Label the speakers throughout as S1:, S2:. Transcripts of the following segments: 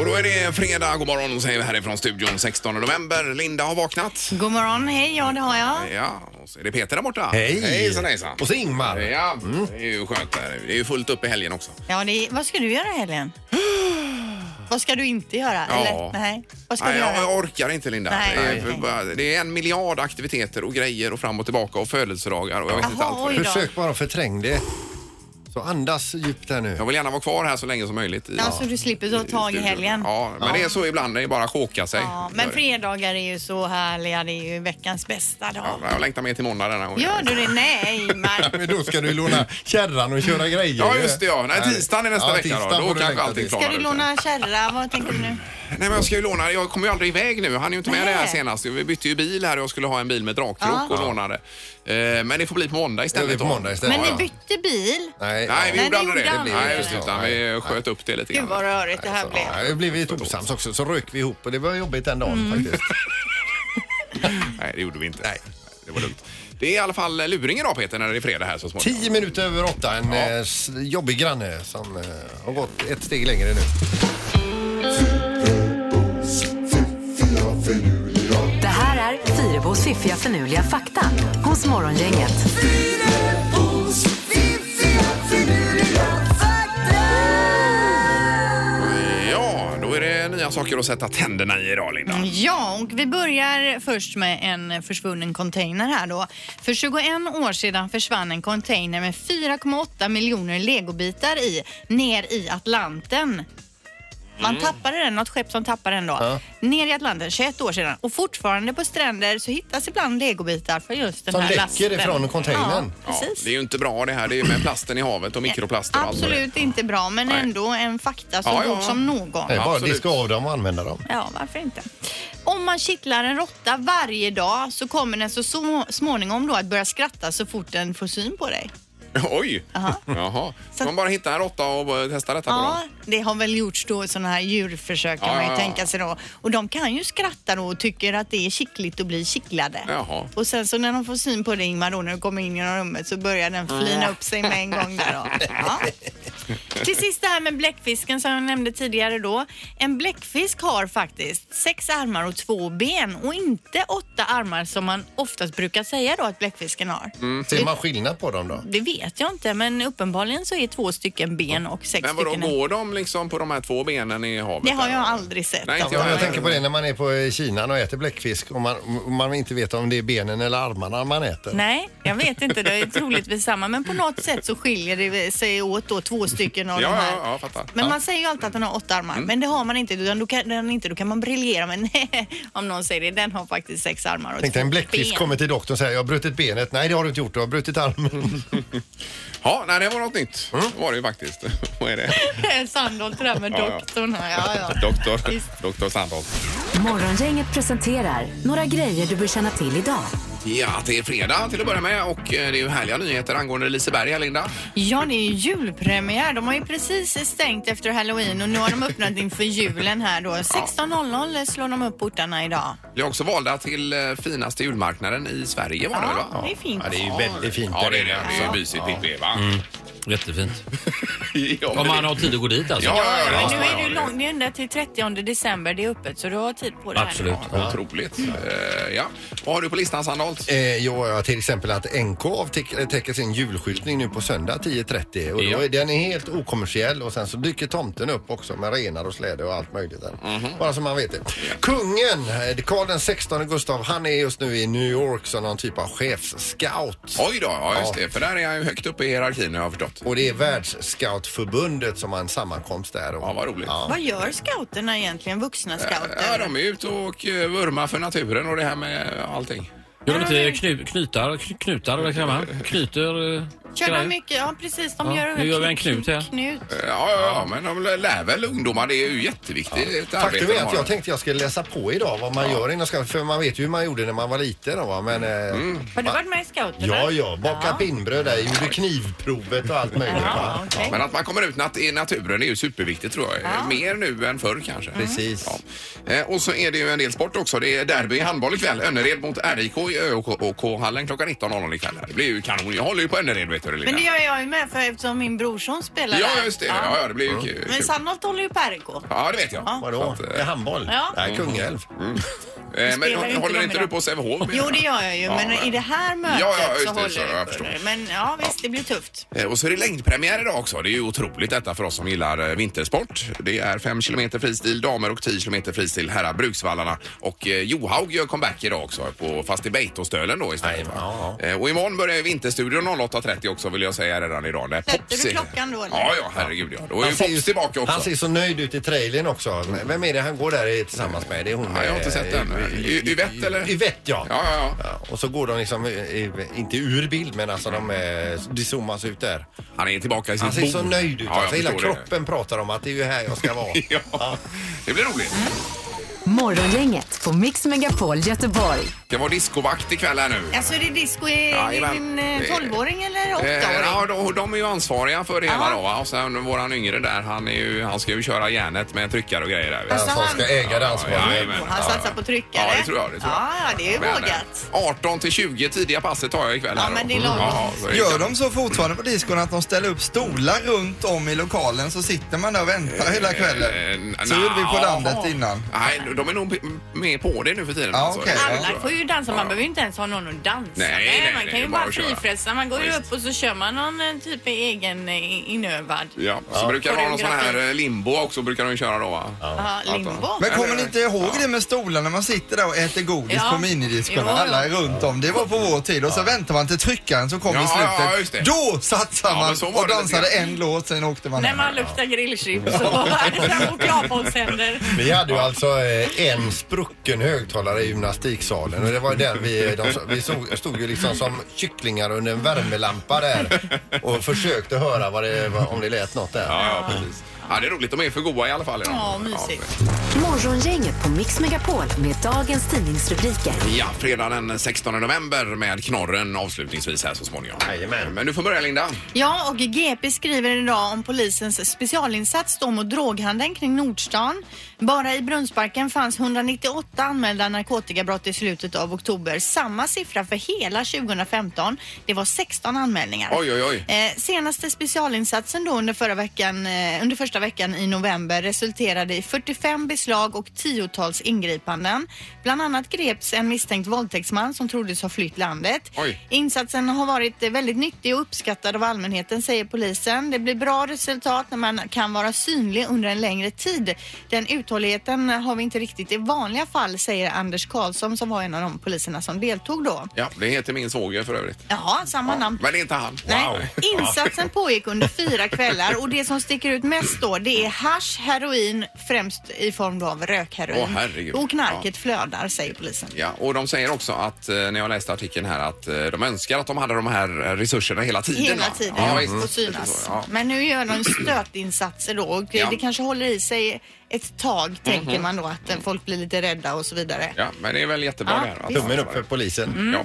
S1: är det fredag. God morgon säger vi härifrån studion 16 november. Linda har vaknat.
S2: God morgon, hej, ja det har jag.
S1: Ja, och så är det Peter där borta.
S3: Hej!
S1: Hejsan hejsan.
S3: Och så Ingmar. Mm.
S1: Ja, det är ju skönt där. Det är ju fullt upp i helgen också.
S2: Ja, det är, vad ska du göra i helgen? vad ska du inte göra?
S1: Ja.
S2: Eller, nej, vad ska
S1: Nej,
S2: du
S1: jag,
S2: göra?
S1: jag orkar inte Linda.
S2: Nej,
S1: det, är,
S2: nej.
S1: för bara- det är en miljard aktiviteter och grejer och fram och tillbaka och födelsedagar och jag vet
S2: Jaha,
S1: inte allt vad det
S2: oj
S1: är.
S2: då.
S3: Försök bara förträng det. Så andas djupt här nu.
S1: Jag vill gärna vara kvar här så länge som möjligt. I,
S2: Ja, så Alltså, du slipper ta tag i
S1: studion.
S2: helgen.
S1: Ja, men det är så ibland. Det är bara att choka sig.
S2: Ja, men fredagar är ju så härliga, det är ju veckans bästa
S1: Ja,
S2: dag.
S1: jag längtar mer till måndag denna gången.
S2: Gör du det? Nej,
S3: Ja,
S2: Ingmar.
S3: Men då ska du låna kärran och köra grejer.
S1: Ja, just det, ja. Nej, tisdagen är nästa
S3: Ja,
S1: vecka då.
S3: tisdagen
S1: Då
S3: får du
S1: kanske
S3: längta
S1: allting
S3: till.
S1: klarar
S2: Ska du
S1: ut.
S2: låna kärra? Vad tänker du nu?
S1: Nej, men jag ska ju låna. Jag kommer ju aldrig iväg nu. Han är ju inte med
S2: Nej.
S1: det här senast. Vi bytte ju bil här och jag skulle ha en bil med dragkrok
S2: Ja.
S1: och lånade. Eh, Men det får bli på måndag istället.
S3: Det blir på
S1: då.
S3: måndag istället.
S2: Men
S3: Ja,
S2: ni
S3: ja.
S2: bytte bil.
S3: Nej,
S1: Nej, vi
S2: Nej,
S1: gjorde
S2: det
S1: aldrig det.
S2: gjorde aldrig
S1: Nej,
S2: det.
S1: just det. Utan vi sköt upp det lite
S2: Gud vad
S1: grann.
S2: rörigt det här blev.
S3: Ja, det blev lite osams också. Så rök vi ihop och det var jobbigt den dagen
S2: Mm.
S3: faktiskt.
S1: Nej, det gjorde vi inte. Nej. Det var dumt. Det är i alla fall luring idag Peter när det är fredag här så småningom.
S3: Tio minuter över åtta. En eh, s- jobbig granne som eh, har gått ett steg längre nu.
S4: Det här är Fyrabos fiffiga förnuliga fakta hos Morgongänget.
S1: Ja, då är det nya saker att sätta tänderna i idag Linda.
S2: Mm, Ja, och vi börjar först med en försvunnen container här då. För 21 år sedan försvann en container med 4,8 miljoner legobitar i ner i Atlanten. Man
S3: Mm.
S2: tappade den, något skepp som tappade den då. Ner i Atlanten, 21 år sedan. Och fortfarande på stränder så hittas ibland legobitar från just den
S3: Som
S2: här
S3: läcker
S2: lasten.
S3: ifrån containern.
S2: Ja,
S1: Ja,
S2: precis.
S1: det är ju inte bra det här. Det är med plasten i havet och mikroplaster och allt vad det är.
S2: Absolut inte bra, men
S1: Nej.
S2: ändå en fakta så
S1: Ja,
S2: god
S1: ja.
S2: som någon.
S3: Nej, bara
S1: Absolut.
S3: diska av dem och använda dem.
S2: Ja, varför inte? Om man kittlar en råtta varje dag så kommer den så små- småningom då att börja skratta så fort den får syn på dig.
S1: Oj!
S2: Aha.
S1: Jaha.
S2: Så-
S1: Man bara hitta en råtta och eh, testa detta på
S2: Ja,
S1: dem.
S2: det har väl gjorts då sådana här djurförsök kan
S1: Ja,
S2: man ju
S1: ja, ja.
S2: tänka sig då. Och de kan ju skratta då och tycker att det är kittligt att bli kittlade.
S1: Jaha.
S2: Och sen så när de får syn på dig Ingmar då när du kommer in genom rummet så börjar den flina upp sig med en gång där då. Ja. Till sist det här med bläckfisken som jag nämnde tidigare då. En bläckfisk har faktiskt sex armar och två ben och inte åtta armar som man oftast brukar säga då att bläckfisken har.
S1: Mm.
S3: Ser man skillnad på dem då?
S2: Det vet jag inte men uppenbarligen så är två stycken ben och sex
S1: Men vadå,
S2: stycken
S1: går de liksom på de här två benen i havet?
S2: Det har
S1: där?
S2: jag aldrig sett.
S1: Nej, inte
S3: Ja, jag
S1: heller.
S3: tänker på det när man är på eh, Kina och äter bläckfisk och man, och man inte vet om det är benen eller armarna man äter.
S2: Nej, jag vet inte. Det är troligtvis samma. Men på något sätt så skiljer det sig åt då två stycken av
S1: Ja,
S2: de här.
S1: ja, ja, fattar.
S2: Men
S1: Ja. Mm.
S2: man säger ju alltid att den har åtta armar. Men det har man inte. Utan då kan, den inte. Då kan man briljera. Men om någon säger det, den har faktiskt sex armar och
S3: Tänk dig
S2: två
S3: en bläckfisk
S2: ben.
S3: kommer till doktorn och säger jag har brutit benet. Nej det har du inte gjort, du har brutit armen.
S1: Ja, nej, det var något nytt.
S3: Mm.
S1: Det var det ju faktiskt. Vad är det?
S2: Sandholt det där med
S1: Ja, ja.
S2: doktorn här. Ja, ja.
S1: Doktor,
S2: Visst.
S1: doktor Sandholt.
S4: Morgongänget presenterar några grejer du bör känna till idag.
S1: Ja, det är fredag till att börja med och eh, det är ju härliga nyheter angående Liseberg, här, Linda.
S2: Ja, det är ju julpremiär. De har ju precis stängt efter halloween och nu har de öppnat inför julen här då. 16.00 slår de upp portarna idag.
S1: Vi är också valda till eh, finaste julmarknaden i Sverige var det väl,
S2: Ja,
S1: va?
S2: det är fint.
S3: Ja, det är ju väldigt fint.
S1: Ja, det är det. Det är mysigt ja. det, va?
S3: Mm.
S5: Jättefint.
S1: Ja, men
S5: Om man
S1: det-
S5: har tid att gå dit alltså.
S1: Ja, ja,
S2: Ja,
S1: ja.
S2: men nu är det ju
S1: ja,
S2: långt, det är ända till 30 december det är öppet så du har tid på det här.
S5: Absolut.
S1: ja. Otroligt. Eh, Ja. Vad har du på listan, Sandholt?
S3: Eh, jo, ja, till exempel att NK avtäcker eh, sin julskyltning nu på söndag 10.30 och
S5: Ja.
S3: då är, den är helt okommersiell och sen så dyker tomten upp också med renar och släde och allt möjligt. Där. Bara så man vet det. Kungen, eh, Karl den 16 Gustav, han är just nu i New York som någon typ av chefsscout.
S1: Oj då, ja just
S3: Ja.
S1: det. För där är jag ju högt upp i hierarkin har jag förstått.
S3: Och det är Världsscoutförbundet som har en sammankomst där. Och,
S1: Ja, vad roligt.
S2: Vad gör scouterna egentligen, vuxna scouter?
S1: Ja, de är ute och eh, vurmar för naturen och det här med allting.
S5: Gör de inte knu, knutar, kn- knutar eller vad man? Knyter eh,
S2: Kör de
S5: grejer?
S2: mycket? Ja precis, de
S5: Ja,
S2: gör
S5: nu gör vi en knut här.
S2: Knut.
S1: Ja, ja, ja, men de lär väl ungdomar. Det är ju jätteviktigt ja.
S3: Faktum är att jag tänkte jag skulle läsa på idag vad man gör inom scout, för man vet ju hur man gjorde när man var liten. Då, va? Men, eh,
S1: Mm.
S2: Har du varit med i scouterna?
S3: Ja, ja, baka
S2: Ja.
S3: pinnbröd där, gjorde knivprovet och allt möjligt. va?
S2: Ja, okej.
S1: Men att man kommer ut nat- i naturen är ju superviktigt tror jag. Mer nu än förr kanske.
S3: Precis.
S1: Ja. Eh, Och så är det ju en del sport också. Det är derby i handboll ikväll. Önnered mot RIK i ÖK-hallen klockan 19.00 ikväll. Det blir ju kanon. Jag håller ju på Önnered vet heter det, Linda.
S2: Men det gör jag ju med för eftersom min brorson spelar
S1: Ja,
S2: där.
S1: just det. Ja, ja det blir ju kul.
S2: Men Sannholt håller ju Pergo.
S1: Ja, det vet jag.
S2: Ja.
S1: Så
S3: Vadå?
S1: att,
S3: Det är
S1: eh, Mm.
S3: handboll?
S2: Ja.
S3: Nej, Kungälv.
S1: eh, men
S2: Spelar inte
S1: håller
S2: de
S1: inte du
S2: idag?
S1: på Sävehof? menar
S2: Jo, det gör jag ju.
S1: Ja,
S2: men i det här mötet
S1: Ja, ja, just
S2: så
S1: det,
S2: håller
S1: så
S2: jag,
S1: jag
S2: på det.
S1: förstår.
S2: Men ja, visst, det blir tufft.
S1: Eh, Och så är det längdpremiär idag också. Det är ju otroligt detta för oss som gillar eh, vintersport. Det är 5 kilometer fristil damer och 10 kilometer fristil herrar, Bruksvallarna. Och eh, Johaug gör comeback idag också, på, fast i Beitostölen då istället.
S3: Jajamän,
S1: va?
S3: ja,
S1: Eh, Och imorgon börjar ju Vinterstudion 08.30 också vill jag säga redan idag. Där
S2: Sätter
S1: Pops
S2: du
S1: är-
S2: klockan då, eller?
S1: Ja, ja, herregud ja. Då är ju
S3: ser ju-
S1: Pops tillbaka också.
S3: Han ser så nöjd ut i trailern också. Vem är det han går där i tillsammans med? eh, Det är hon.
S1: Ja, jag har inte sett den. Y- Yvette, eller?
S3: Yvette ja.
S1: Ja, ja, ja.
S3: Och så går de liksom, eh, eh, inte ur bild, men alltså de, eh, de zoomas ut där.
S1: Han är tillbaka i sitt
S3: Han ser
S1: bo.
S3: så nöjd ut.
S1: Ja, jag
S3: alltså, hela
S1: förstår det.
S3: kroppen pratar om att det är ju här jag ska vara.
S1: Ja, det blir roligt.
S4: Morgongänget på Mix Megapol Göteborg.
S1: Det var discovakt ikväll här nu.
S2: Alltså är det disco i
S1: Jajamän.
S2: en eh, 12-åring eller
S1: Eh,
S2: 8-åring?
S1: ja, de, de är ju ansvariga för det hela
S2: Ja.
S1: då. va? Och sen våran yngre där, han, är ju, han ska ju köra järnet med tryckare och grejer där.
S2: Alltså,
S3: Han som
S2: han-
S3: ska äga dansbandet.
S1: Ja, jajamän.
S2: Och han satsar på tryckare?
S1: Ja, det tror jag. Det tror jag.
S2: Ja, ja, det är ju
S1: Men, eh,
S2: vågat.
S1: 18 till 20 tidiga passet tar jag ikväll.
S2: Ja,
S1: här då.
S2: men det är lagom.
S1: Ja, så är det-
S6: Gör de så fortfarande på diskorna att de ställer upp stolar runt om i lokalen så sitter man där och väntar hela kvällen?
S1: Eh,
S6: Så gjorde vi på
S1: nja.
S6: landet innan.
S1: Nej, de är nog p- med på det nu för tiden. alltså.
S6: Ja, okej.
S1: Ja,
S6: Alla
S1: det tror
S2: Alla
S1: jag.
S2: får ju dansa, man behöver ju inte ens ha någon att dansa
S1: Nej,
S2: med.
S1: nej,
S2: man
S1: nej,
S2: kan
S1: det
S2: ju
S1: är bara
S2: bara
S1: att köra.
S2: frifräsa. Man går ju
S1: Visst.
S2: upp och så kör man någon eh, typ egen eh, inövad.
S1: Ja, så brukar de ha någon sån här eh, limbo också, brukar de köra då va?
S2: Ja, limbo.
S6: Men kommer ni inte ihåg det med stolarna man sitter där och äter godis
S2: Ja.
S6: på minidiskorna?
S2: Jo, jo.
S6: Alla är runt om. Det var på vår tid och så väntar man till tryckaren som kom
S1: Ja,
S6: i
S1: ja, just det.
S6: slutet. Då satsade
S1: Ja, men så
S6: man
S1: var
S6: och
S1: det
S6: dansade
S1: lite grann.
S6: en låt, sen åkte man
S2: När
S6: hem.
S2: man luktar grillchips och chokladbollshänder.
S3: Vi hade ju alltså eh, en sprucken högtalare i gymnastiksalen och det var ju den vi, de, vi stod, stod ju liksom som kycklingar under en värmelampa där och försökte höra vad det, vad- om det lät något där.
S1: Ja, ja, precis. Ja, det är roligt. De är för goa i alla fall. idag.
S2: Ja, mysigt.
S4: Morgongänget på Mix Megapol med dagens tidningsrubriker.
S1: Ja, fredag den 16 november med knorren avslutningsvis här så småningom.
S3: Jajamän.
S1: Men du får börja Linda.
S2: Ja, och GP skriver idag om polisens specialinsats då mot droghandeln kring Nordstan. Bara i Brunnsparken fanns 198 anmälda narkotikabrott i slutet av oktober. Samma siffra för hela 2015. Det var 16 anmälningar.
S1: Oj, oj, oj.
S2: Eh, senaste specialinsatsen då under, förra veckan, eh, under första veckan i november resulterade i 45 beslag och tiotals ingripanden. Bland annat greps en misstänkt våldtäktsman som troddes ha flytt landet.
S1: Oj.
S2: Insatsen har varit eh, väldigt nyttig och uppskattad av allmänheten säger polisen. Det blir bra resultat när man kan vara synlig under en längre tid. Den uthålligheten har vi inte riktigt i vanliga fall säger Anders Karlsson som var en av de poliserna som deltog då.
S1: Ja, det heter min svåger för övrigt.
S2: Jaha, samma namn.
S1: Men det är inte han.
S2: Nej. Insatsen pågick under fyra kvällar och det som sticker ut mest då det är hasch, heroin, främst i form då av
S1: Åh,
S2: rökheroin.
S1: herregud.
S2: och knarket flödar säger polisen.
S1: Ja, och de säger också att, eh, när jag läste artikeln här, att eh, de önskar att de hade de här eh, resurserna hela tiden.
S2: Hela
S1: va?
S2: tiden
S1: Ja,
S2: ja,
S1: visst.
S2: och synas.
S1: Ja.
S2: Men nu gör de stötinsatser då och
S1: Ja. Mhm.
S2: det kanske håller i sig ett tag tänker man då att eh, folk blir lite rädda och så vidare.
S1: ja, men det är väl jättebra
S2: Ja,
S1: det här. att-
S3: Tummen upp för polisen.
S1: Ja.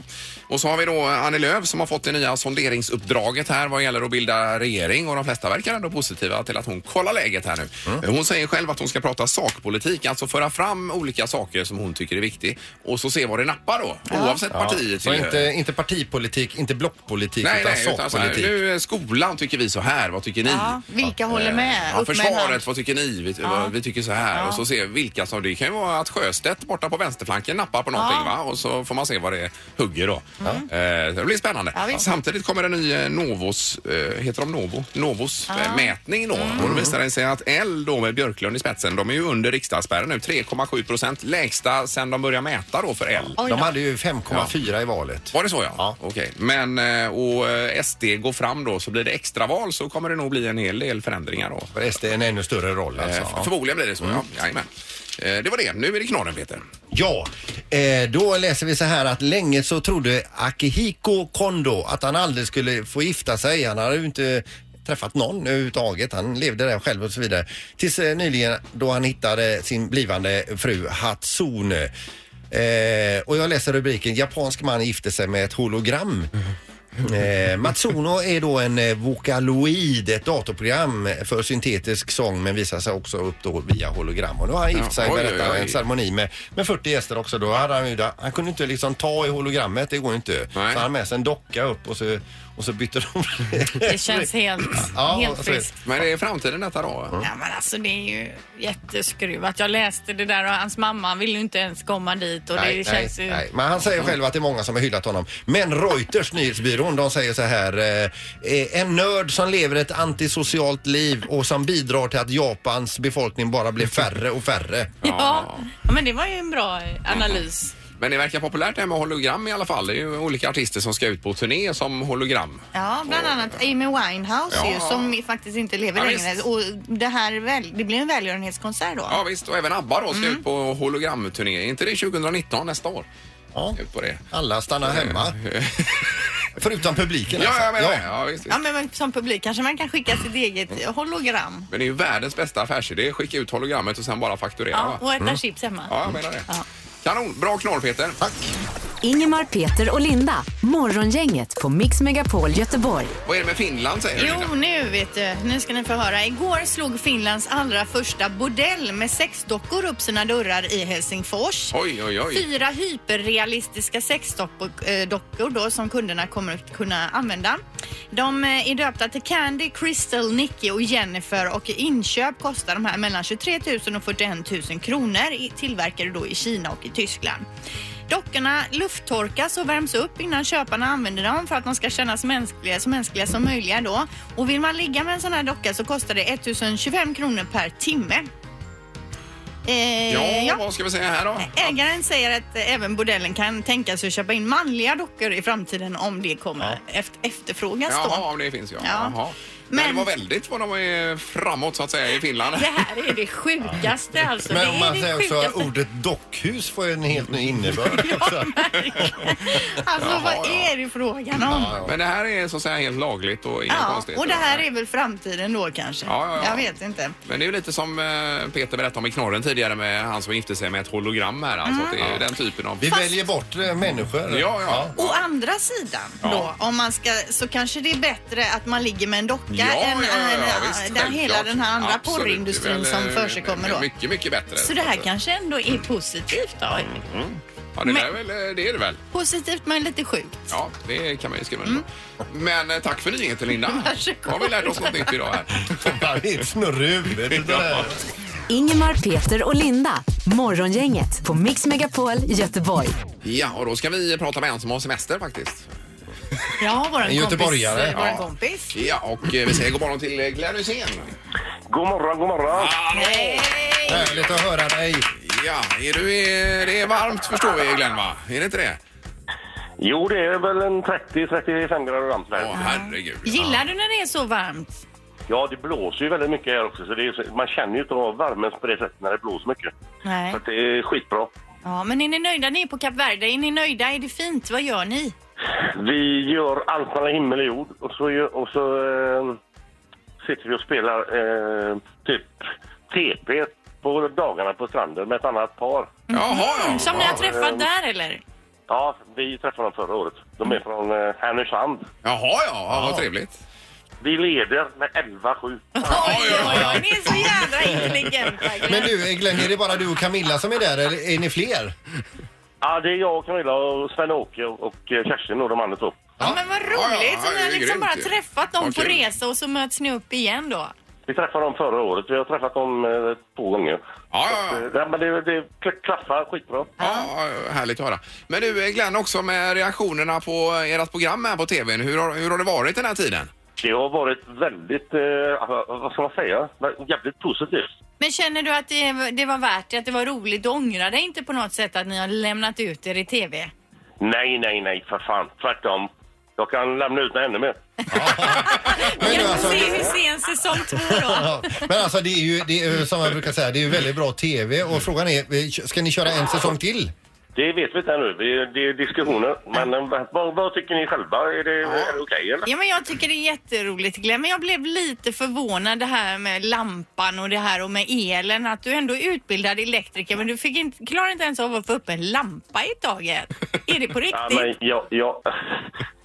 S1: Och så har vi då Annie Lööf som har fått det nya sonderingsuppdraget här vad gäller att bilda regering och de flesta verkar ändå positiva till att hon kollar läget här nu.
S3: Mm.
S1: Hon säger själv att hon ska prata sakpolitik, alltså föra fram olika saker som hon tycker är viktigt och så se vad det nappar då, oavsett parti.
S3: Så inte, inte partipolitik, inte blockpolitik
S1: Nej,
S3: utan
S1: nej, utan så här,
S3: sakpolitik.
S1: nu är skolan tycker vi så här, vad tycker ni?
S2: Ja, vilka håller med?
S1: Ja,
S2: Upp med en hand.
S1: försvaret, vad tycker ni? Vi, vad, vi tycker så här. Och så se vilka som... Det kan ju vara att Sjöstedt borta på vänsterflanken nappar på någonting va? Och så får man se vad det hugger då. Eh, det blir spännande.
S2: Mm. Ja, visst.
S1: Samtidigt kommer en ny eh, Novos, eh, heter de Novo? Novos eh, mätning då.
S2: Mm.
S1: Och då visar det sig att L då med Björklund i spetsen, de är ju under riksdagsspärren nu. 3,7 procent. Lägsta sen de började mäta då för L.
S2: Oj då.
S3: De hade ju 5,4 i valet.
S1: Var det så ja?
S3: Ja.
S1: Okej. Men eh, och eh, SD går fram då så blir det extraval så kommer det nog bli en hel del förändringar då.
S3: För SD en ännu större roll alltså.
S1: Eh,
S3: Ja.
S1: Förmodligen blir det så, ja. Jajamän. Eh, Det var det. Nu är det knorren, Peter.
S3: Ja, eh, då läser vi så här att länge så trodde Akihiko Kondo att han aldrig skulle få gifta sig. Han hade ju inte träffat någon överhuvudtaget. Han levde där själv och så vidare. Tills eh, nyligen då han hittade sin blivande fru Hatsune. Eh, och jag läser rubriken Japansk man gifte sig med ett hologram. Eh, Matsuno är då en eh, Vocaloid, ett datorprogram för syntetisk sång men visar sig också upp då via hologram. Och nu har han gift sig,
S1: Ja, oj,
S3: berättar
S1: oj,
S3: han,
S1: oj.
S3: en ceremoni med, med 40 gäster också. Då hade han, ju, han kunde inte liksom ta i hologrammet, det går ju inte. Så han hade med sig en docka upp och så, och så bytte de.
S2: Det känns helt,
S3: Ja,
S2: helt
S3: alltså,
S2: friskt.
S1: Men det är framtiden detta då?
S2: Ja, men alltså, det är ju jätteskruvat. Jag läste det där och hans mamma ville ju inte ens komma dit. Och det känns ju...
S3: Men han säger själv att det är många som har hyllat honom. Men Reuters nyhetsbyrån, de säger så här. eh, eh, En nörd som lever ett antisocialt liv och som bidrar till att Japans befolkning bara blir färre och färre.
S2: Ja. ja, men det var ju en bra
S1: Mm.
S2: eh, analys.
S1: Men det verkar populärt det här med hologram i alla fall. Det är ju olika artister som ska ut på turné som hologram.
S2: Ja, bland annat Amy Winehouse
S1: Ja.
S2: ju, som faktiskt inte lever
S1: Ja,
S2: längre.
S1: visst.
S2: Och det här väl, det blir en välgörenhetskonsert då.
S1: Ja visst, och även ABBA då ska ut på hologramturné. Är inte det 2019 nästa år?
S3: Ja.
S1: Ut på det.
S3: Alla stannar hemma. Förutom publiken alltså.
S1: Ja, jag menar
S3: Ja.
S1: det. Ja, visst, Mm. visst.
S2: Ja, men men som publik kanske man kan skicka sitt eget hologram.
S1: Men det är ju världens bästa affärsidé. Skicka ut hologrammet och sen bara fakturera.
S2: Ja,
S1: va?
S2: och äta chips hemma.
S1: Mm. ja jag menar det. Kanon, bra knorr Peter.
S3: Tack.
S4: Ingemar, Peter och Linda. Morgongänget på Mix Megapol Göteborg.
S1: Vad är det med Finland säger du?
S2: Jo,
S1: Linda?
S2: nu vet du. Nu ska ni få höra. Igår slog Finlands allra första bordell med sexdockor upp sina dörrar i Helsingfors.
S1: Oj, oj, oj.
S2: Fyra hyperrealistiska sexdockor eh, dockor då, som kunderna kommer att kunna använda. De eh, är döpta till Candy, Crystal, Nicky och Jennifer och i inköp kostar de här mellan 23 000 och 41 000 kronor. I- Tillverkade då i Kina och i Tyskland. Dockorna lufttorkas och värms upp innan köparna använder dem för att de ska kännas mänskliga, så mänskliga som möjliga då. Och vill man ligga med en sån här docka så kostar det 1025 kronor per timme. Eh,
S1: Ja, vad ska vi säga här då?
S2: Ägaren säger att eh, även bordellen kan tänka sig att köpa in manliga dockor i framtiden om det kommer efter, efterfrågas då.
S1: Jaha, om det finns ja.
S2: Ja.
S1: Jaha. Men,
S2: Men-
S1: det var väldigt vad de är framåt så att säga i Finland.
S2: Det här är det sjukaste alltså.
S3: Men
S2: det
S3: om
S2: är
S3: man
S2: det
S3: säger också
S2: sjukaste.
S3: ordet dockhus får ju en helt ny innebörd. också.
S2: Alltså vad
S1: ja.
S2: är det frågan om?
S1: Men det här är så att säga helt lagligt och inga
S2: Ja,
S1: konstigheter.
S2: och det här är väl framtiden då kanske?
S1: Ja, ja, ja.
S2: Jag vet inte.
S1: Men det är ju lite som eh, Peter berättade om i knorren tidigare med han som gifte sig med ett hologram här.
S2: Mm.
S1: Alltså att det är den typen av...
S3: Vi
S2: Fast-
S3: väljer bort eh, människor.
S1: Ja, ja.
S2: Å andra sidan
S1: Ja.
S2: då, om man ska, så kanske det är bättre att man ligger med en docka
S1: Ja, ja,
S2: än
S1: ja,
S2: än,
S1: ja,
S2: äh,
S1: visst,
S2: den, hela
S1: självklart.
S2: den här andra
S1: Absolut,
S2: porrindustrin
S1: det är
S2: som
S1: väl, eh,
S2: försiggår då.
S1: Mycket, mycket bättre.
S2: Så det här
S1: att,
S2: kanske ändå är positivt då.
S1: Ja, det, där
S2: Men-
S1: är väl, eh, det är det väl.
S2: Positivt men lite sjukt.
S1: Ja, det kan man ju skriva under på. Men eh, tack för nyheten, Linda.
S2: Varsågod.
S1: Har vi lärt oss något nytt idag här.
S3: Det är ett snurr i huvudet. det där.
S4: Ingemar, Peter och Linda. Morgongänget på Mix Megapol Göteborg.
S1: Ja, och då ska vi prata med en som har semester faktiskt.
S2: Ja, våran
S3: En göteborgare.
S2: kompis. eh, Våran
S1: Ja.
S2: kompis.
S1: Ja, och eh, vi säger god morgon till eh, Glenn Hysén.
S7: God morgon, god morgon.
S3: Härligt att höra dig.
S1: Ja, är du, eh, det är varmt förstår vi Glenn va? Är det inte det?
S7: Jo, det är väl en 30-35 grader varmt
S1: Åh
S7: här.
S1: herregud.
S2: Gillar du när det är så varmt?
S7: Ja, det blåser ju väldigt mycket här också, så det är, så- man känner ju inte av värmen på det sättet när det blåser mycket.
S2: Nej.
S7: Så att det är skitbra.
S2: Ja, men är ni nöjda? Ni är på Kap Verde. Är ni nöjda? Är det fint? Vad gör ni?
S7: Vi gör allt mellan himmel och jord och så, gör- och så eh, sitter vi och spelar eh, typ TP på dagarna på stranden med ett annat par.
S1: Jaha, ja.
S2: Som ni har träffat där eller?
S7: Ja, vi träffade dem förra året. De är från eh, Härnösand.
S1: Jaha, ja. ja vad trevligt.
S7: Vi leder med 11-7.
S2: Oj, oj, oj. Ni är så jädra intelligenta.
S3: Men du eh, Glenn, är det bara du och Camilla som är där eller är ni fler?
S7: Ja, det är jag, Camilla, och Sven-Åke och, och eh, Kerstin och de andra två.
S2: Ja, men vad
S1: Ja, ja,
S2: roligt. Så
S1: ja,
S2: ni
S1: det är
S2: har liksom
S1: grymt
S2: bara
S1: ju.
S2: träffat dem
S1: Vad
S2: på
S1: kul.
S2: resa och så möts ni upp igen då.
S7: Vi träffade dem förra året. Vi har träffat dem eh, två gånger.
S1: Ja, ja, ja.
S7: Eh, Nej, men det, det kla- klaffar skitbra.
S1: Ja, härligt att höra. Men du eh, Glenn, också med reaktionerna på ert program här på TVn. Hur har, hur har det varit den här tiden?
S7: Det har varit väldigt, eh, alltså, vad ska man säga, jävligt positivt.
S2: Men känner du att det, det var värt det, att det var roligt? Du ångrar dig inte på något sätt att ni har lämnat ut er i TV?
S7: Nej, nej, nej, för fan. Tvärtom. Jag kan lämna ut mig ännu mer.
S3: Men, du,
S2: Grattis
S3: alltså,
S2: till Hussein säsong två då.
S3: ja, men alltså det är ju det är, ju som jag brukar säga, det är ju väldigt bra TV och frågan är, eh, ska ni köra en säsong till?
S7: Det vet vi inte ännu. Det, det är diskussioner. Men eh, vad, vad tycker ni själva? Är det, är det okej, eller?
S2: Ja, men jag tycker det är jätteroligt Glenn, men jag blev lite förvånad det här med lampan och det här och med elen. Att du ändå är utbildad elektriker men du fick inte, klarar inte ens av att få upp en lampa i taget. Är det på
S7: Ja,
S2: riktigt?
S7: men jag, jag,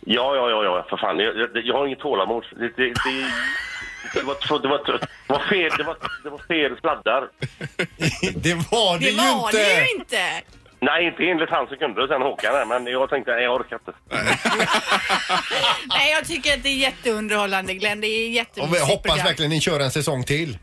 S7: Ja, ja, ja, ja för fan. Jag, jag, jag har inget tålamod. Det, det, det, det, var, två- det, var, två- det var fel, det var, det var fel sladdar.
S8: Det var det,
S2: Det
S8: ju
S2: var
S8: inte!
S2: det ju inte!
S7: Nej, inte enligt han som kunde det sen Håkan här, men jag tänkte, nej jag orkar inte.
S2: Nej, jag tycker att det är jätteunderhållande Glenn. Det är
S3: Och vi
S2: jättemysigt
S3: hoppas
S2: program.
S3: verkligen ni kör en säsong till.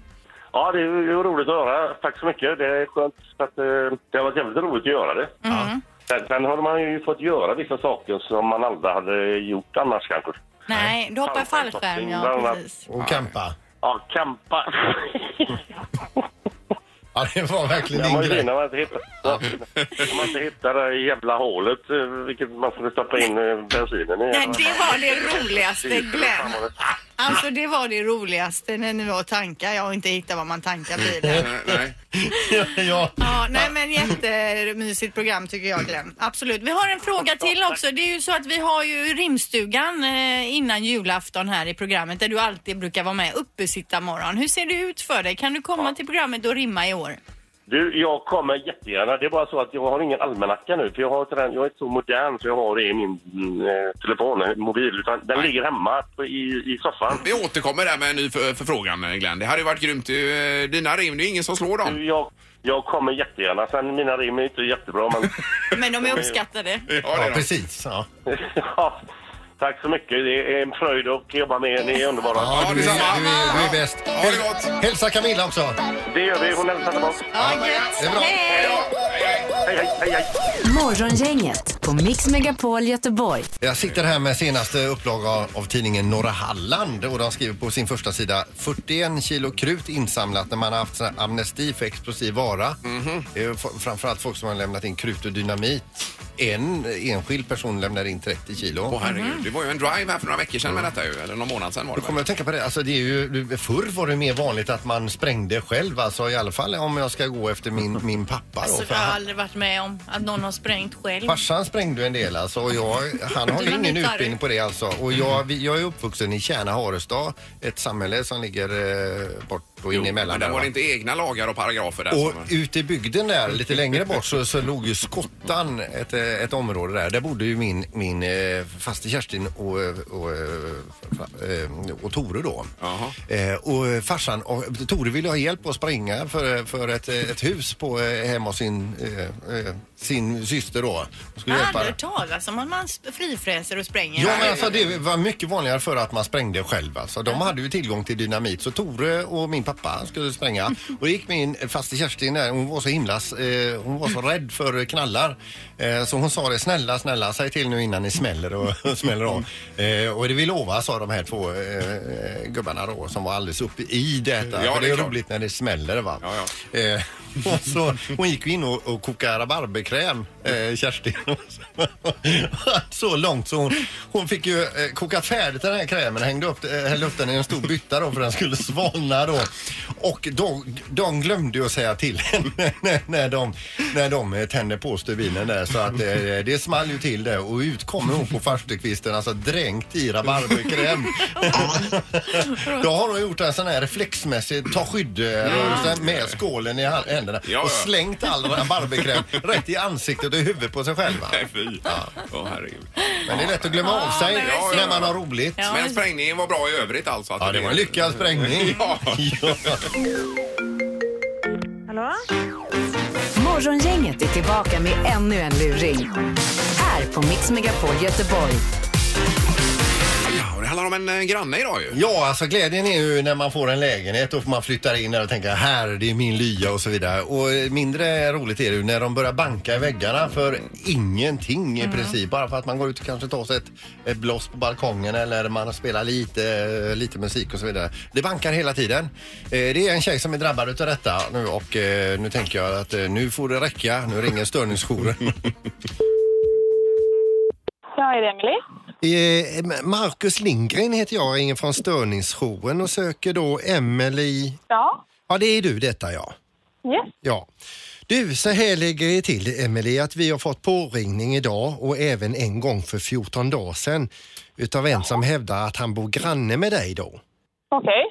S7: Ja, det är det var roligt att höra. Tack så mycket. Det är skönt att eh, det har varit jävligt roligt att göra det.
S2: Mm.
S7: Sen, sen har man ju fått göra vissa saker som man aldrig hade gjort annars kanske.
S2: Nej, du hoppar fallskärm, ja precis.
S3: Och campa.
S7: Ja, campa.
S3: Ja, det var verkligen
S7: Det
S3: din
S7: var ju det
S3: grej.
S7: när man inte hittade, när man inte hittade det jävla hålet, eh, vilket man skulle stoppa in eh, bensinen i.
S2: Nej, det var det roligaste
S7: Fan,
S2: Glenn.
S7: vad det-
S2: Alltså det var det roligaste när ni var och tankade. Jag har inte hittat vad man tankar bilen.
S1: Nej, Eh, nej.
S3: Ja,
S2: Ja, nej men jättemysigt program tycker jag Glenn. Absolut. Vi har en fråga till också. Det är ju så att vi har ju rimstugan eh, innan julafton här i programmet där du alltid brukar vara med uppesitta morgon. Hur ser det ut för dig? Kan du komma till programmet och rimma i år?
S7: Du, jag kommer jättegärna. Det är bara så att jag har ingen almanacka nu, för jag, har inte den, jag är inte så modern så jag har det i min mm, eh, telefon, eh, mobil, utan den ligger hemma på, i, i soffan.
S1: Vi återkommer där med en ny för- förfrågan Glenn. Det hade ju varit grymt. Eh, Dina rim, det är ingen som slår dem.
S7: Du, jag, jag kommer jättegärna. Sen mina rim är inte jättebra, men...
S2: Men de är uppskattade.
S1: Ja, det
S3: ja
S1: är de.
S3: precis. Ja.
S7: ja, tack så mycket. Det är en fröjd att jobba med er. Ni är underbara.
S3: Ja, du, är, du, är, du är bäst.
S1: Ha det gott!
S3: Hälsa Camilla också.
S7: Det gör vi. Hon hälsar tillbaka.
S2: Ja,
S3: Det är
S2: gött.
S3: bra.
S2: Hej!
S7: Hej, hej, hej, hej.
S4: Morgongänget på Mix Megapol Göteborg.
S3: Jag sitter här med senaste upplaga av tidningen Norra Halland och de skriver på sin första sida 41 kilo krut insamlat när man har haft sån här amnesti för explosiv vara. Det är ju f- framförallt folk som har lämnat in krut och dynamit. En enskild person lämnar in 30 kilo.
S1: Åh herregud, det var ju en drive här för några veckor sedan med detta ju, eller någon månad sedan var det
S3: Kommer
S1: väl?
S3: jag att tänka på det, alltså det är ju, förr var det mer vanligt att man sprängde själv, alltså i alla fall om jag ska gå efter min, min pappa då.
S2: Alltså,
S3: För
S2: jag har
S3: han,
S2: aldrig varit med om att någon har sprängt själv.
S3: farsan sprängde ju en del alltså och jag, han har ju ingen
S2: Dynamit har
S3: utbildning på det alltså. Och jag, vi- jag är uppvuxen i Kärna-Harestad, ett samhälle som ligger eh, bort och in emellan.
S1: Men där
S3: där,
S1: var
S3: va?
S1: det inte egna lagar och paragrafer där
S3: Och
S1: som...
S3: ute i bygden där, lite längre bort, så, så låg ju Skottan, ett, eh, ett område där. Där bodde ju min, min eh, faste Kerstin och, eh, och, eh, fa- eh, och Tore då.
S1: Jaha.
S3: Eh, och eh, farsan, och Tore ville ha hjälp att springa för, för ett, eh, ett hus på, eh, hemma hos sin, eh, eh, sin syster då. Och
S2: Jag
S3: Skulle
S2: har
S3: hjälpa
S2: aldrig hört talas om att man sp- frifräser och spränger.
S3: Ja, men alltså, det var mycket vanligare för att man sprängde själv. Alltså. De hade ju tillgång till dynamit. Så Tore och min pappa skulle spränga. Och det gick min faste Kerstin där. Hon var så himla... Eh, hon var så rädd för knallar. Eh, så hon sa det. Snälla, snälla, säg till nu innan ni smäller och, och smäller av. Eh, och det vi lovar, sa de här två eh, gubbarna då, som var alldeles uppe i detta.
S1: Ja,
S3: för
S1: det är
S3: det är
S1: klart.
S3: roligt när det smäller, va?
S1: Ja, ja.
S3: Eh, och så, hon gick ju in och, och kokade rabarberkräm, eh, Kerstin. så långt så hon, hon fick ju eh, koka färdigt den här krämen, hängde upp, eh, hällde upp den i en stor bytta då för den skulle svalna då. Och de, de glömde ju att säga till henne när, när de, när de eh, tände på stubinen där så att eh, det small ju till där och ut kommer hon på farstukvisten alltså dränkt i rabarberkräm. Då har hon gjort en sån här reflexmässig ta skydd eh, rörelse med skålen i hand- händerna
S1: Mm. Ja,
S3: och
S1: ja.
S3: slängt all rabarberkräm rätt i ansiktet och i huvudet på sig själv. va?
S1: Nej, fy. Ja, herregud.
S3: Men det är lätt att glömma av sig
S2: men det är
S3: när
S2: så.
S3: man har roligt.
S2: Ja.
S1: Men sprängningen var bra i övrigt alltså? Att
S3: Ja, det var en lyckad sprängning.
S1: Ja.
S9: Hallå?
S4: Morgongänget är tillbaka med ännu en luring. Här på Mix Megapol Göteborg.
S1: Ja, och det handlar om en eh, granne idag ju.
S3: Ja, alltså glädjen är ju när man får en lägenhet och man flyttar in där och tänker här, det är min lya och så vidare. Och eh, mindre roligt är det ju när de börjar banka i väggarna för ingenting i princip. Bara för att man går ut och kanske tar sig ett, ett blås på balkongen eller man spelar lite, eh, lite musik och så vidare. Det bankar hela tiden. Eh, Det är en tjej som är drabbad utav detta nu och eh, nu tänker jag att eh, nu får det räcka. Nu ringer störningsjouren.
S9: Ja, är det Emily?
S3: Eh, Marcus Lindgren heter jag, ringer från störningsjouren och söker då Emelie
S9: Ja.
S3: Ja, det är du detta ja.
S9: Yes.
S3: ja. Du, så här ligger det till Emelie att vi har fått påringning idag och även en gång för 14 dagar sedan utav en som hävdar att han bor granne med dig då.
S9: Okej.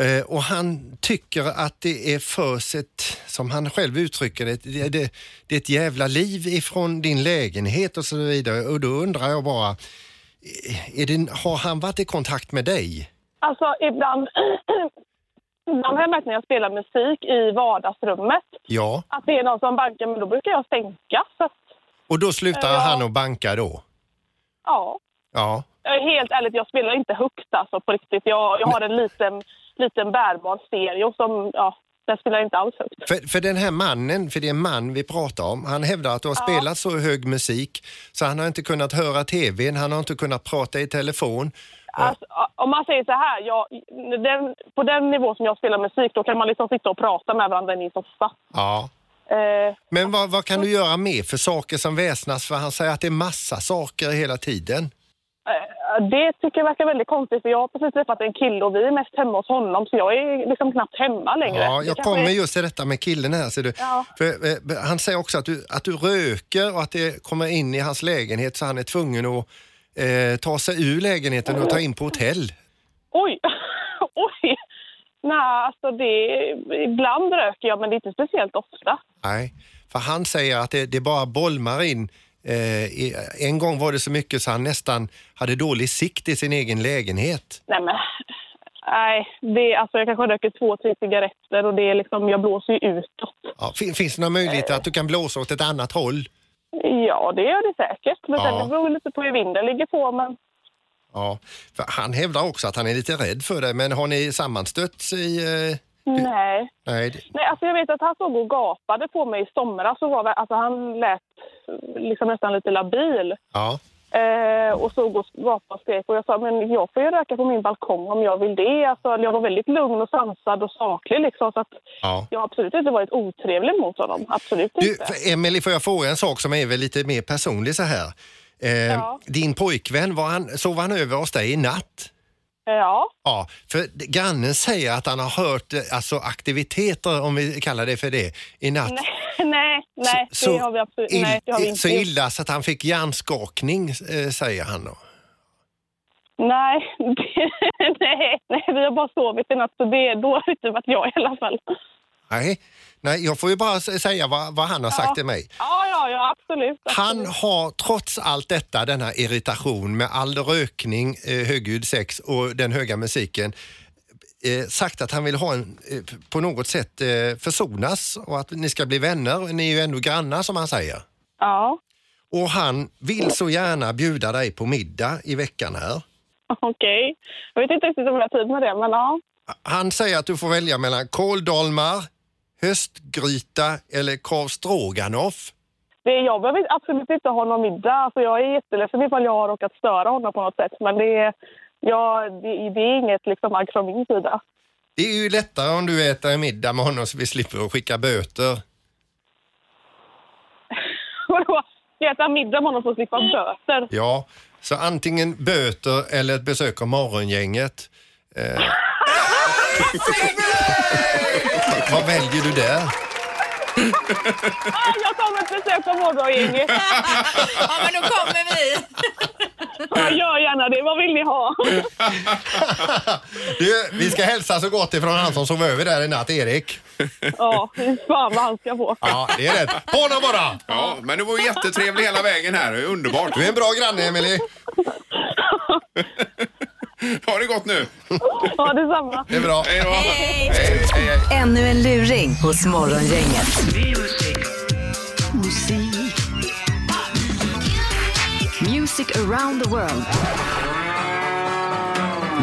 S3: Eh, och han tycker att det är förs ett, som han själv uttrycker det, det, det, det är ett jävla liv ifrån din lägenhet och så vidare. Och då undrar jag bara, eh, Är det, har han varit i kontakt med dig?
S9: Alltså ibland, ibland har jag märkt när jag spelar musik i vardagsrummet
S3: Ja.
S9: att det är någon som bankar, men då brukar jag stänka. Så att,
S3: Och då slutar
S9: Ja.
S3: han att banka då?
S9: ja.
S3: Ja.
S9: Jag är Helt ärligt, jag spelar inte högt alltså, på riktigt. Jag, jag har en liten, liten bärbar stereo som, ja, den spelar inte alls högt.
S3: För, för den här mannen, för det är en man vi pratar om, han hävdar att du har spelat så hög musik så han har inte kunnat höra tvn, han har inte kunnat prata i telefon.
S9: Alltså, om man säger så här, jag, den, på den nivå som jag spelar musik då kan man liksom sitta och prata med varandra i min soffa.
S3: Ja.
S9: Eh,
S3: Men vad, vad kan du göra mer för saker som väsnas? För han säger att det är massa saker hela tiden.
S9: eh, det tycker jag verkar väldigt konstigt för jag har precis träffat en kille och vi är mest hemma hos honom så jag är liksom knappt hemma längre.
S3: Ja,
S9: Det
S3: jag
S9: kanske
S3: kommer
S9: är-
S3: just till detta med killen här ser du.
S9: Ja.
S3: För, eh, han säger också att du, att du röker och att det kommer in i hans lägenhet så han är tvungen att eh, ta sig ur lägenheten och ta in på hotell.
S9: Oj! Oj! Nej, alltså det... Ibland röker jag men det är inte speciellt ofta.
S3: Nej, för han säger att det, det bara bolmar in. Eh, i- en gång var det så mycket så han nästan hade dålig sikt i sin egen lägenhet.
S9: Nej men... Nej, det, alltså jag kanske röker två, tre cigaretter och det är liksom, jag blåser ju utåt.
S3: Ja, fin, finns det några möjligheter att du kan blåsa åt ett annat håll?
S9: Ja, det gör det säkert. Men
S3: Ja.
S9: sen det beror lite på hur vinden ligger på. Men
S3: Ja, för han hävdar också att han är lite rädd för det, men har ni sammanstötts i... Eh,
S9: nej.
S3: nej, det-
S9: nej alltså jag vet att han såg och gapade på mig i somras. Och var, vä- alltså han lät liksom nästan lite labil.
S3: ja.
S9: Eh, och såg och gapade och skrek. Och jag sa, men jag får ju röka på min balkong om jag vill det. Alltså, jag var väldigt lugn och sansad och saklig liksom. Så att
S3: Ja.
S9: jag har absolut inte varit otrevlig mot honom. Absolut
S3: Du,
S9: inte.
S3: för- Emily, får jag fråga en sak som är väl lite mer personlig så här? Eh,
S9: Ja.
S3: Din pojkvän, var han, sov han över hos dig i natt?
S9: Eh, Ja.
S3: Ja, för d- grannen säger att han har hört eh, alltså, aktiviteter, om vi kallar det för det, i natt.
S9: nej, nej. Det
S3: Så-
S9: har vi absolut
S3: ill-
S9: nej, det har vi inte
S3: Så
S9: gjort.
S3: illa så att han fick hjärnskakning, eh, säger han då.
S9: Nej, nej, nej, vi har bara sovit i natt så det, då har det inte varit jag i alla fall.
S3: Nej, nej jag får ju bara s- säga vad, vad han har sagt till mig.
S9: Ja, ja, ja, absolut.
S3: Han har trots allt detta, denna irritation med all rökning, eh, högljudd sex och den höga musiken, eh, sagt att han vill ha en, eh, p- på något sätt eh, försonas och att ni ska bli vänner. Ni är ju ändå grannar som han säger.
S9: Ja,
S3: Och han vill så gärna bjuda dig på middag i veckan här.
S9: okej. Jag vet inte riktigt om jag har tid med det, men ja.
S3: Han säger att du får välja mellan kåldolmar, höstgryta eller korv stroganoff.
S9: Det, jag behöver absolut inte ha någon middag. Alltså, jag är jätteledsen ifall jag har råkat störa honom på något sätt. Men det, ja, det, det är inget liksom, agg från min sida.
S3: Det är ju lättare om du äter en middag med honom så vi slipper att skicka böter.
S9: Vadå? Ska jag äta middag med honom för att slippa böter?
S3: Ja, så antingen böter eller ett besök av morgongänget. Eh. Vad- Vad väljer du där?
S9: Ah, jag kommer ett besök av morgongänget.
S2: Ja, men då kommer vi.
S9: Ja, gör gärna det. Vad vill ni ha?
S3: Du, vi ska hälsa så gott ifrån han som sov över där i natt, Erik.
S9: Ja, fy fan vad han ska få.
S3: Ja, det är rätt. På honom bara!
S1: Ja, men du var ju jättetrevlig hela vägen här. Det är Underbart.
S3: Du är en bra granne, Emily.
S1: Ha det gott nu.
S9: Ja, detsamma.
S3: Det är bra.
S1: Hej då.
S2: Hej.
S1: Hej, hej, hej.
S4: Ännu en luring hos Morgongänget. Music around the world.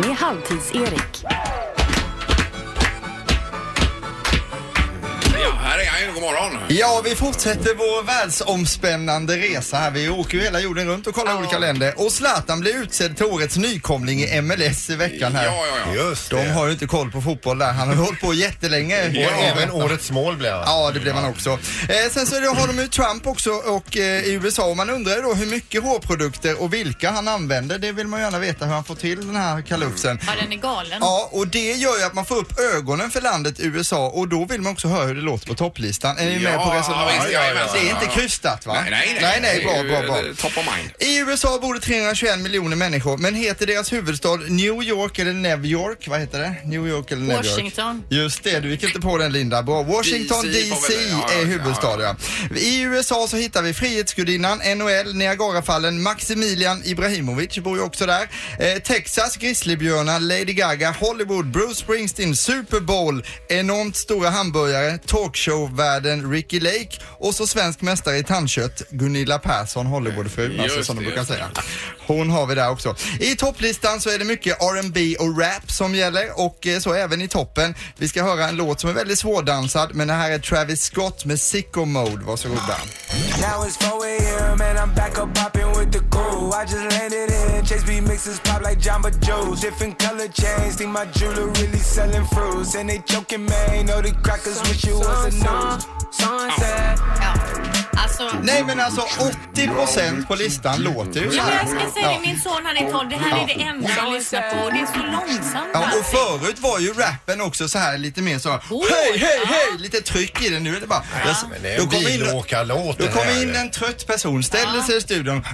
S4: Med Halvtids-Erik.
S1: Ja, här är han ju. God morgon.
S6: Ja, vi fortsätter vår världsomspännande resa här. Vi åker ju hela jorden runt och kollar olika länder. Och Zlatan blir utsedd till årets nykomling i MLS i veckan här.
S1: Ja, ja, ja.
S3: Just
S6: De har ju inte koll på fotboll där. Han har ju hållit på jättelänge.
S3: Och även årets mål blev han.
S6: Ja, det blev han också. Eh, sen så är det- har de ju Trump också och, eh, i USA och man undrar ju då hur mycket hårprodukter och vilka han använder. Det vill man gärna veta hur han får till den här kalufsen.
S1: Mm.
S2: Ja, den är galen.
S6: Ja, och det gör ju att man får upp ögonen för landet USA och då vill man också höra hur det låter på topplistan. Är ni med
S1: Ja,
S6: på resonemanget?
S1: visst, jajamensan.
S6: det är inte krystat va?
S1: Nej, nej,
S6: nej,
S1: nej.
S6: bra,
S1: Det är ju,
S6: bra, bra.
S1: eh, Top of mind.
S6: I USA bor det 321 miljoner människor, men heter deras huvudstad New York eller New York? Vad heter det? New York eller New
S2: Washington.
S6: York? Just det, du gick inte på den Linda. Bra. Washington
S1: DC får
S6: DC
S1: väl- ja, ja,
S6: är huvudstad, ja. I USA så hittar vi Frihetsgudinnan, NHL, Niagarafallen, Maximilian Ibrahimovic bor ju också där. Eh, Texas, Grizzlybjörnar, Lady Gaga, Hollywood, Bruce Springsteen, Super Bowl, enormt stora hamburgare, talkshowvärlden Ricky Lake och så svensk mästare i tandkött Gunilla Persson, Hollywoodfrun alltså,
S1: Just
S6: som de
S1: det,
S6: brukar
S1: just det.
S6: säga. Hon har vi där också. I topplistan så är det mycket R&B och rap som gäller och eh, så även i toppen. Vi ska höra en låt som är väldigt svårdansad men det här är Travis Scott med Sicko Mode. Varsågoda.
S10: Now it's 4 a.m. and I'm back up popping with the crew. I just landed in Chase B mixes pop like Jamba Joe's. Different color chains, think my jewelry really selling fruits. And they joking, man, know the crackers wish you was a news. Sunset.
S2: Ja. Alltså,
S6: Nej men alltså 80% på listan låter ju så
S10: Ja,
S2: Ja,
S6: här.
S2: jag ska säga det, min son han är 12. Det här är det enda han lyssnar på. Det är så långsamt. alltså.
S6: Ja, och
S2: allting.
S6: förut var ju rappen också så här lite mer så hej, hej, hej, lite tryck i den. Nu är det bara... Jag-
S3: Men det är en
S6: då kommer in-
S3: bilåkarlåt
S6: Då
S3: det här.
S6: kommer in en trött person, ställer sig i studion.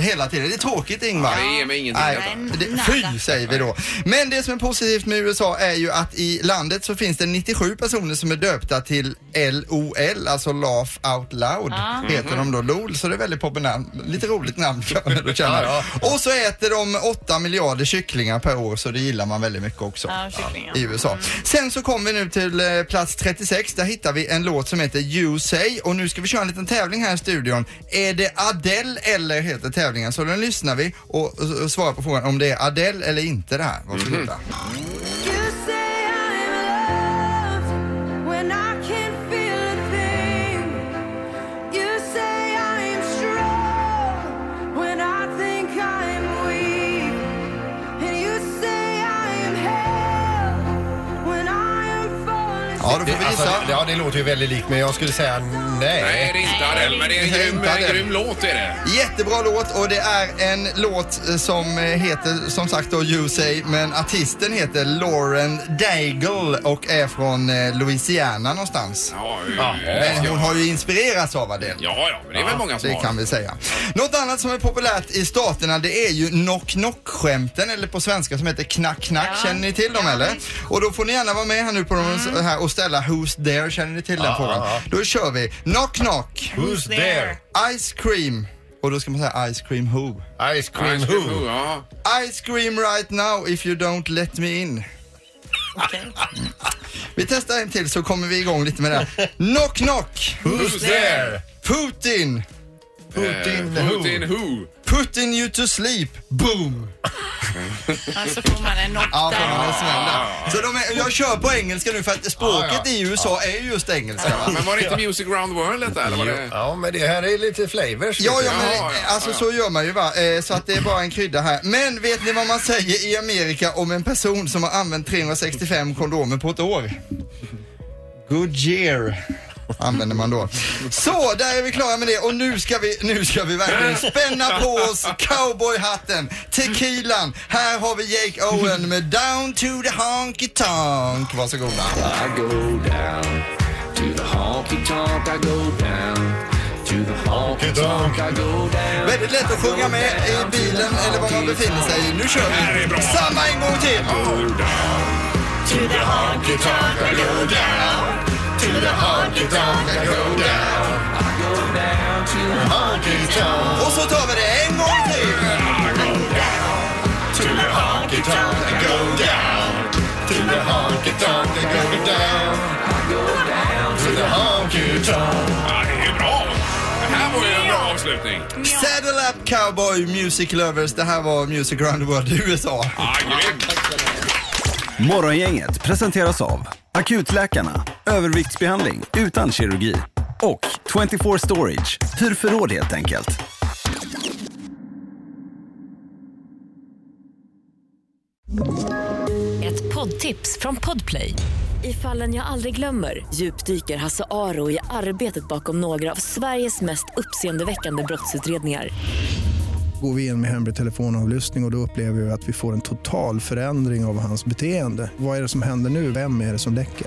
S6: Hela tiden. Det är tråkigt Ingmar.
S1: Det ger mig ingenting.
S6: Nej,
S1: detta.
S6: det- fy säger vi då. Men det som är positivt med USA är ju att i landet så finns det 97 personer som är döpta till LOL, alltså Laugh Out Loud heter de då, LOL, så det är väldigt populärt namn. Lite roligt namn kan man ändå känna. Och så äter de 8 miljarder kycklingar per år så det gillar man väldigt mycket också
S2: Ja, kycklingar.
S6: i USA. Sen så kommer vi nu till eh, plats 36. Där hittar vi en låt som heter You Say och nu ska vi köra en liten tävling här i studion. Är det Adele eller heter tävlingen? Så nu lyssnar vi och, och, och svarar på frågan om det är Adele eller inte det här. Varsågoda.
S3: Mhm.
S6: Ja, då får vi
S3: Det, alltså,
S6: gissa.
S3: ja, det låter ju väldigt likt men jag skulle säga nej.
S1: Nej, det är inte Adele, men det är en
S6: Det är
S1: grym,
S6: inte Adele.
S1: en grym låt är det.
S6: Jättebra låt och det är en låt eh, som eh, heter som sagt då You Say men artisten heter Lauren Daigle och är från eh, Louisiana någonstans.
S1: Ja,
S6: Men hon
S1: ja,
S6: har ju inspirerats av Adele.
S1: ja, ja, men det är väl många som
S6: Det
S1: har.
S6: kan vi säga. Något annat som är populärt i staterna det är ju knock-knock-skämten eller på svenska som heter knack-knack.
S2: Ja.
S6: Känner ni till dem
S2: Ja,
S6: eller?
S2: visst.
S6: Och då får ni gärna vara med här nu på de så här och ställa Who's there? Känner ni till den frågan? Då kör vi. Knock-knock,
S3: Who's there?
S6: ice cream och då ska man säga ice cream who?
S3: Ice cream
S1: Ice cream who,
S3: who?
S1: ja.
S6: Ice cream right now if you don't let me in. Vi testar en till så kommer vi igång lite med det här. Knock-knock,
S3: Who's there?
S6: Putin,
S3: Putin
S1: Eh,
S3: who?
S1: Putin who?
S6: Putin you to sleep, boom.
S2: Alltså får man en knock
S6: Ja, för de är
S2: där.
S6: snälla. Så de är, jag kör på engelska nu för att språket
S3: Ja, ja.
S6: i USA är ju just engelska. Va?
S1: Men var det inte Music Round World detta, eller var det?
S3: Ja, men det här är lite flavors.
S6: Ja, ja, men
S1: Ja, ja,
S6: alltså
S1: ja,
S6: så gör man ju va. Eh, Så att det är bara en krydda här. Men vet ni vad man säger i Amerika om en person som har använt 365 kondomer på ett år? Good year. Använder man då. Så, där är vi klara med det och nu ska vi, nu ska vi verkligen spänna på oss cowboyhatten, tequilan. Här har vi Jake Owen med Down to the Honky Tonk. Varsågoda.
S10: I go down to the honky tonk, I go down to the honky tonk, I go down.
S6: Väldigt lätt att sjunga med i bilen eller var man befinner sig. Nu kör vi! Samma en gång till! Och så tar vi det en gång till!
S1: Ja, det är bra. Det här var ju en bra avslutning.
S6: Saddle up cowboy music lovers. Det här var Music Round the World i USA.
S1: Ja, grymt.
S11: Morgongänget presenteras av Akutläkarna, överviktsbehandling utan kirurgi och 24 Storage, hyr förråd helt enkelt.
S4: Ett poddtips från Podplay. I fallen jag aldrig glömmer djupdyker Hasse Aro i arbetet bakom några av Sveriges mest uppseendeväckande brottsutredningar.
S10: Går vi in med hemlig telefonavlyssning och, och då upplever vi att vi får en total förändring av hans beteende. Vad är det som händer nu? Vem är det som läcker?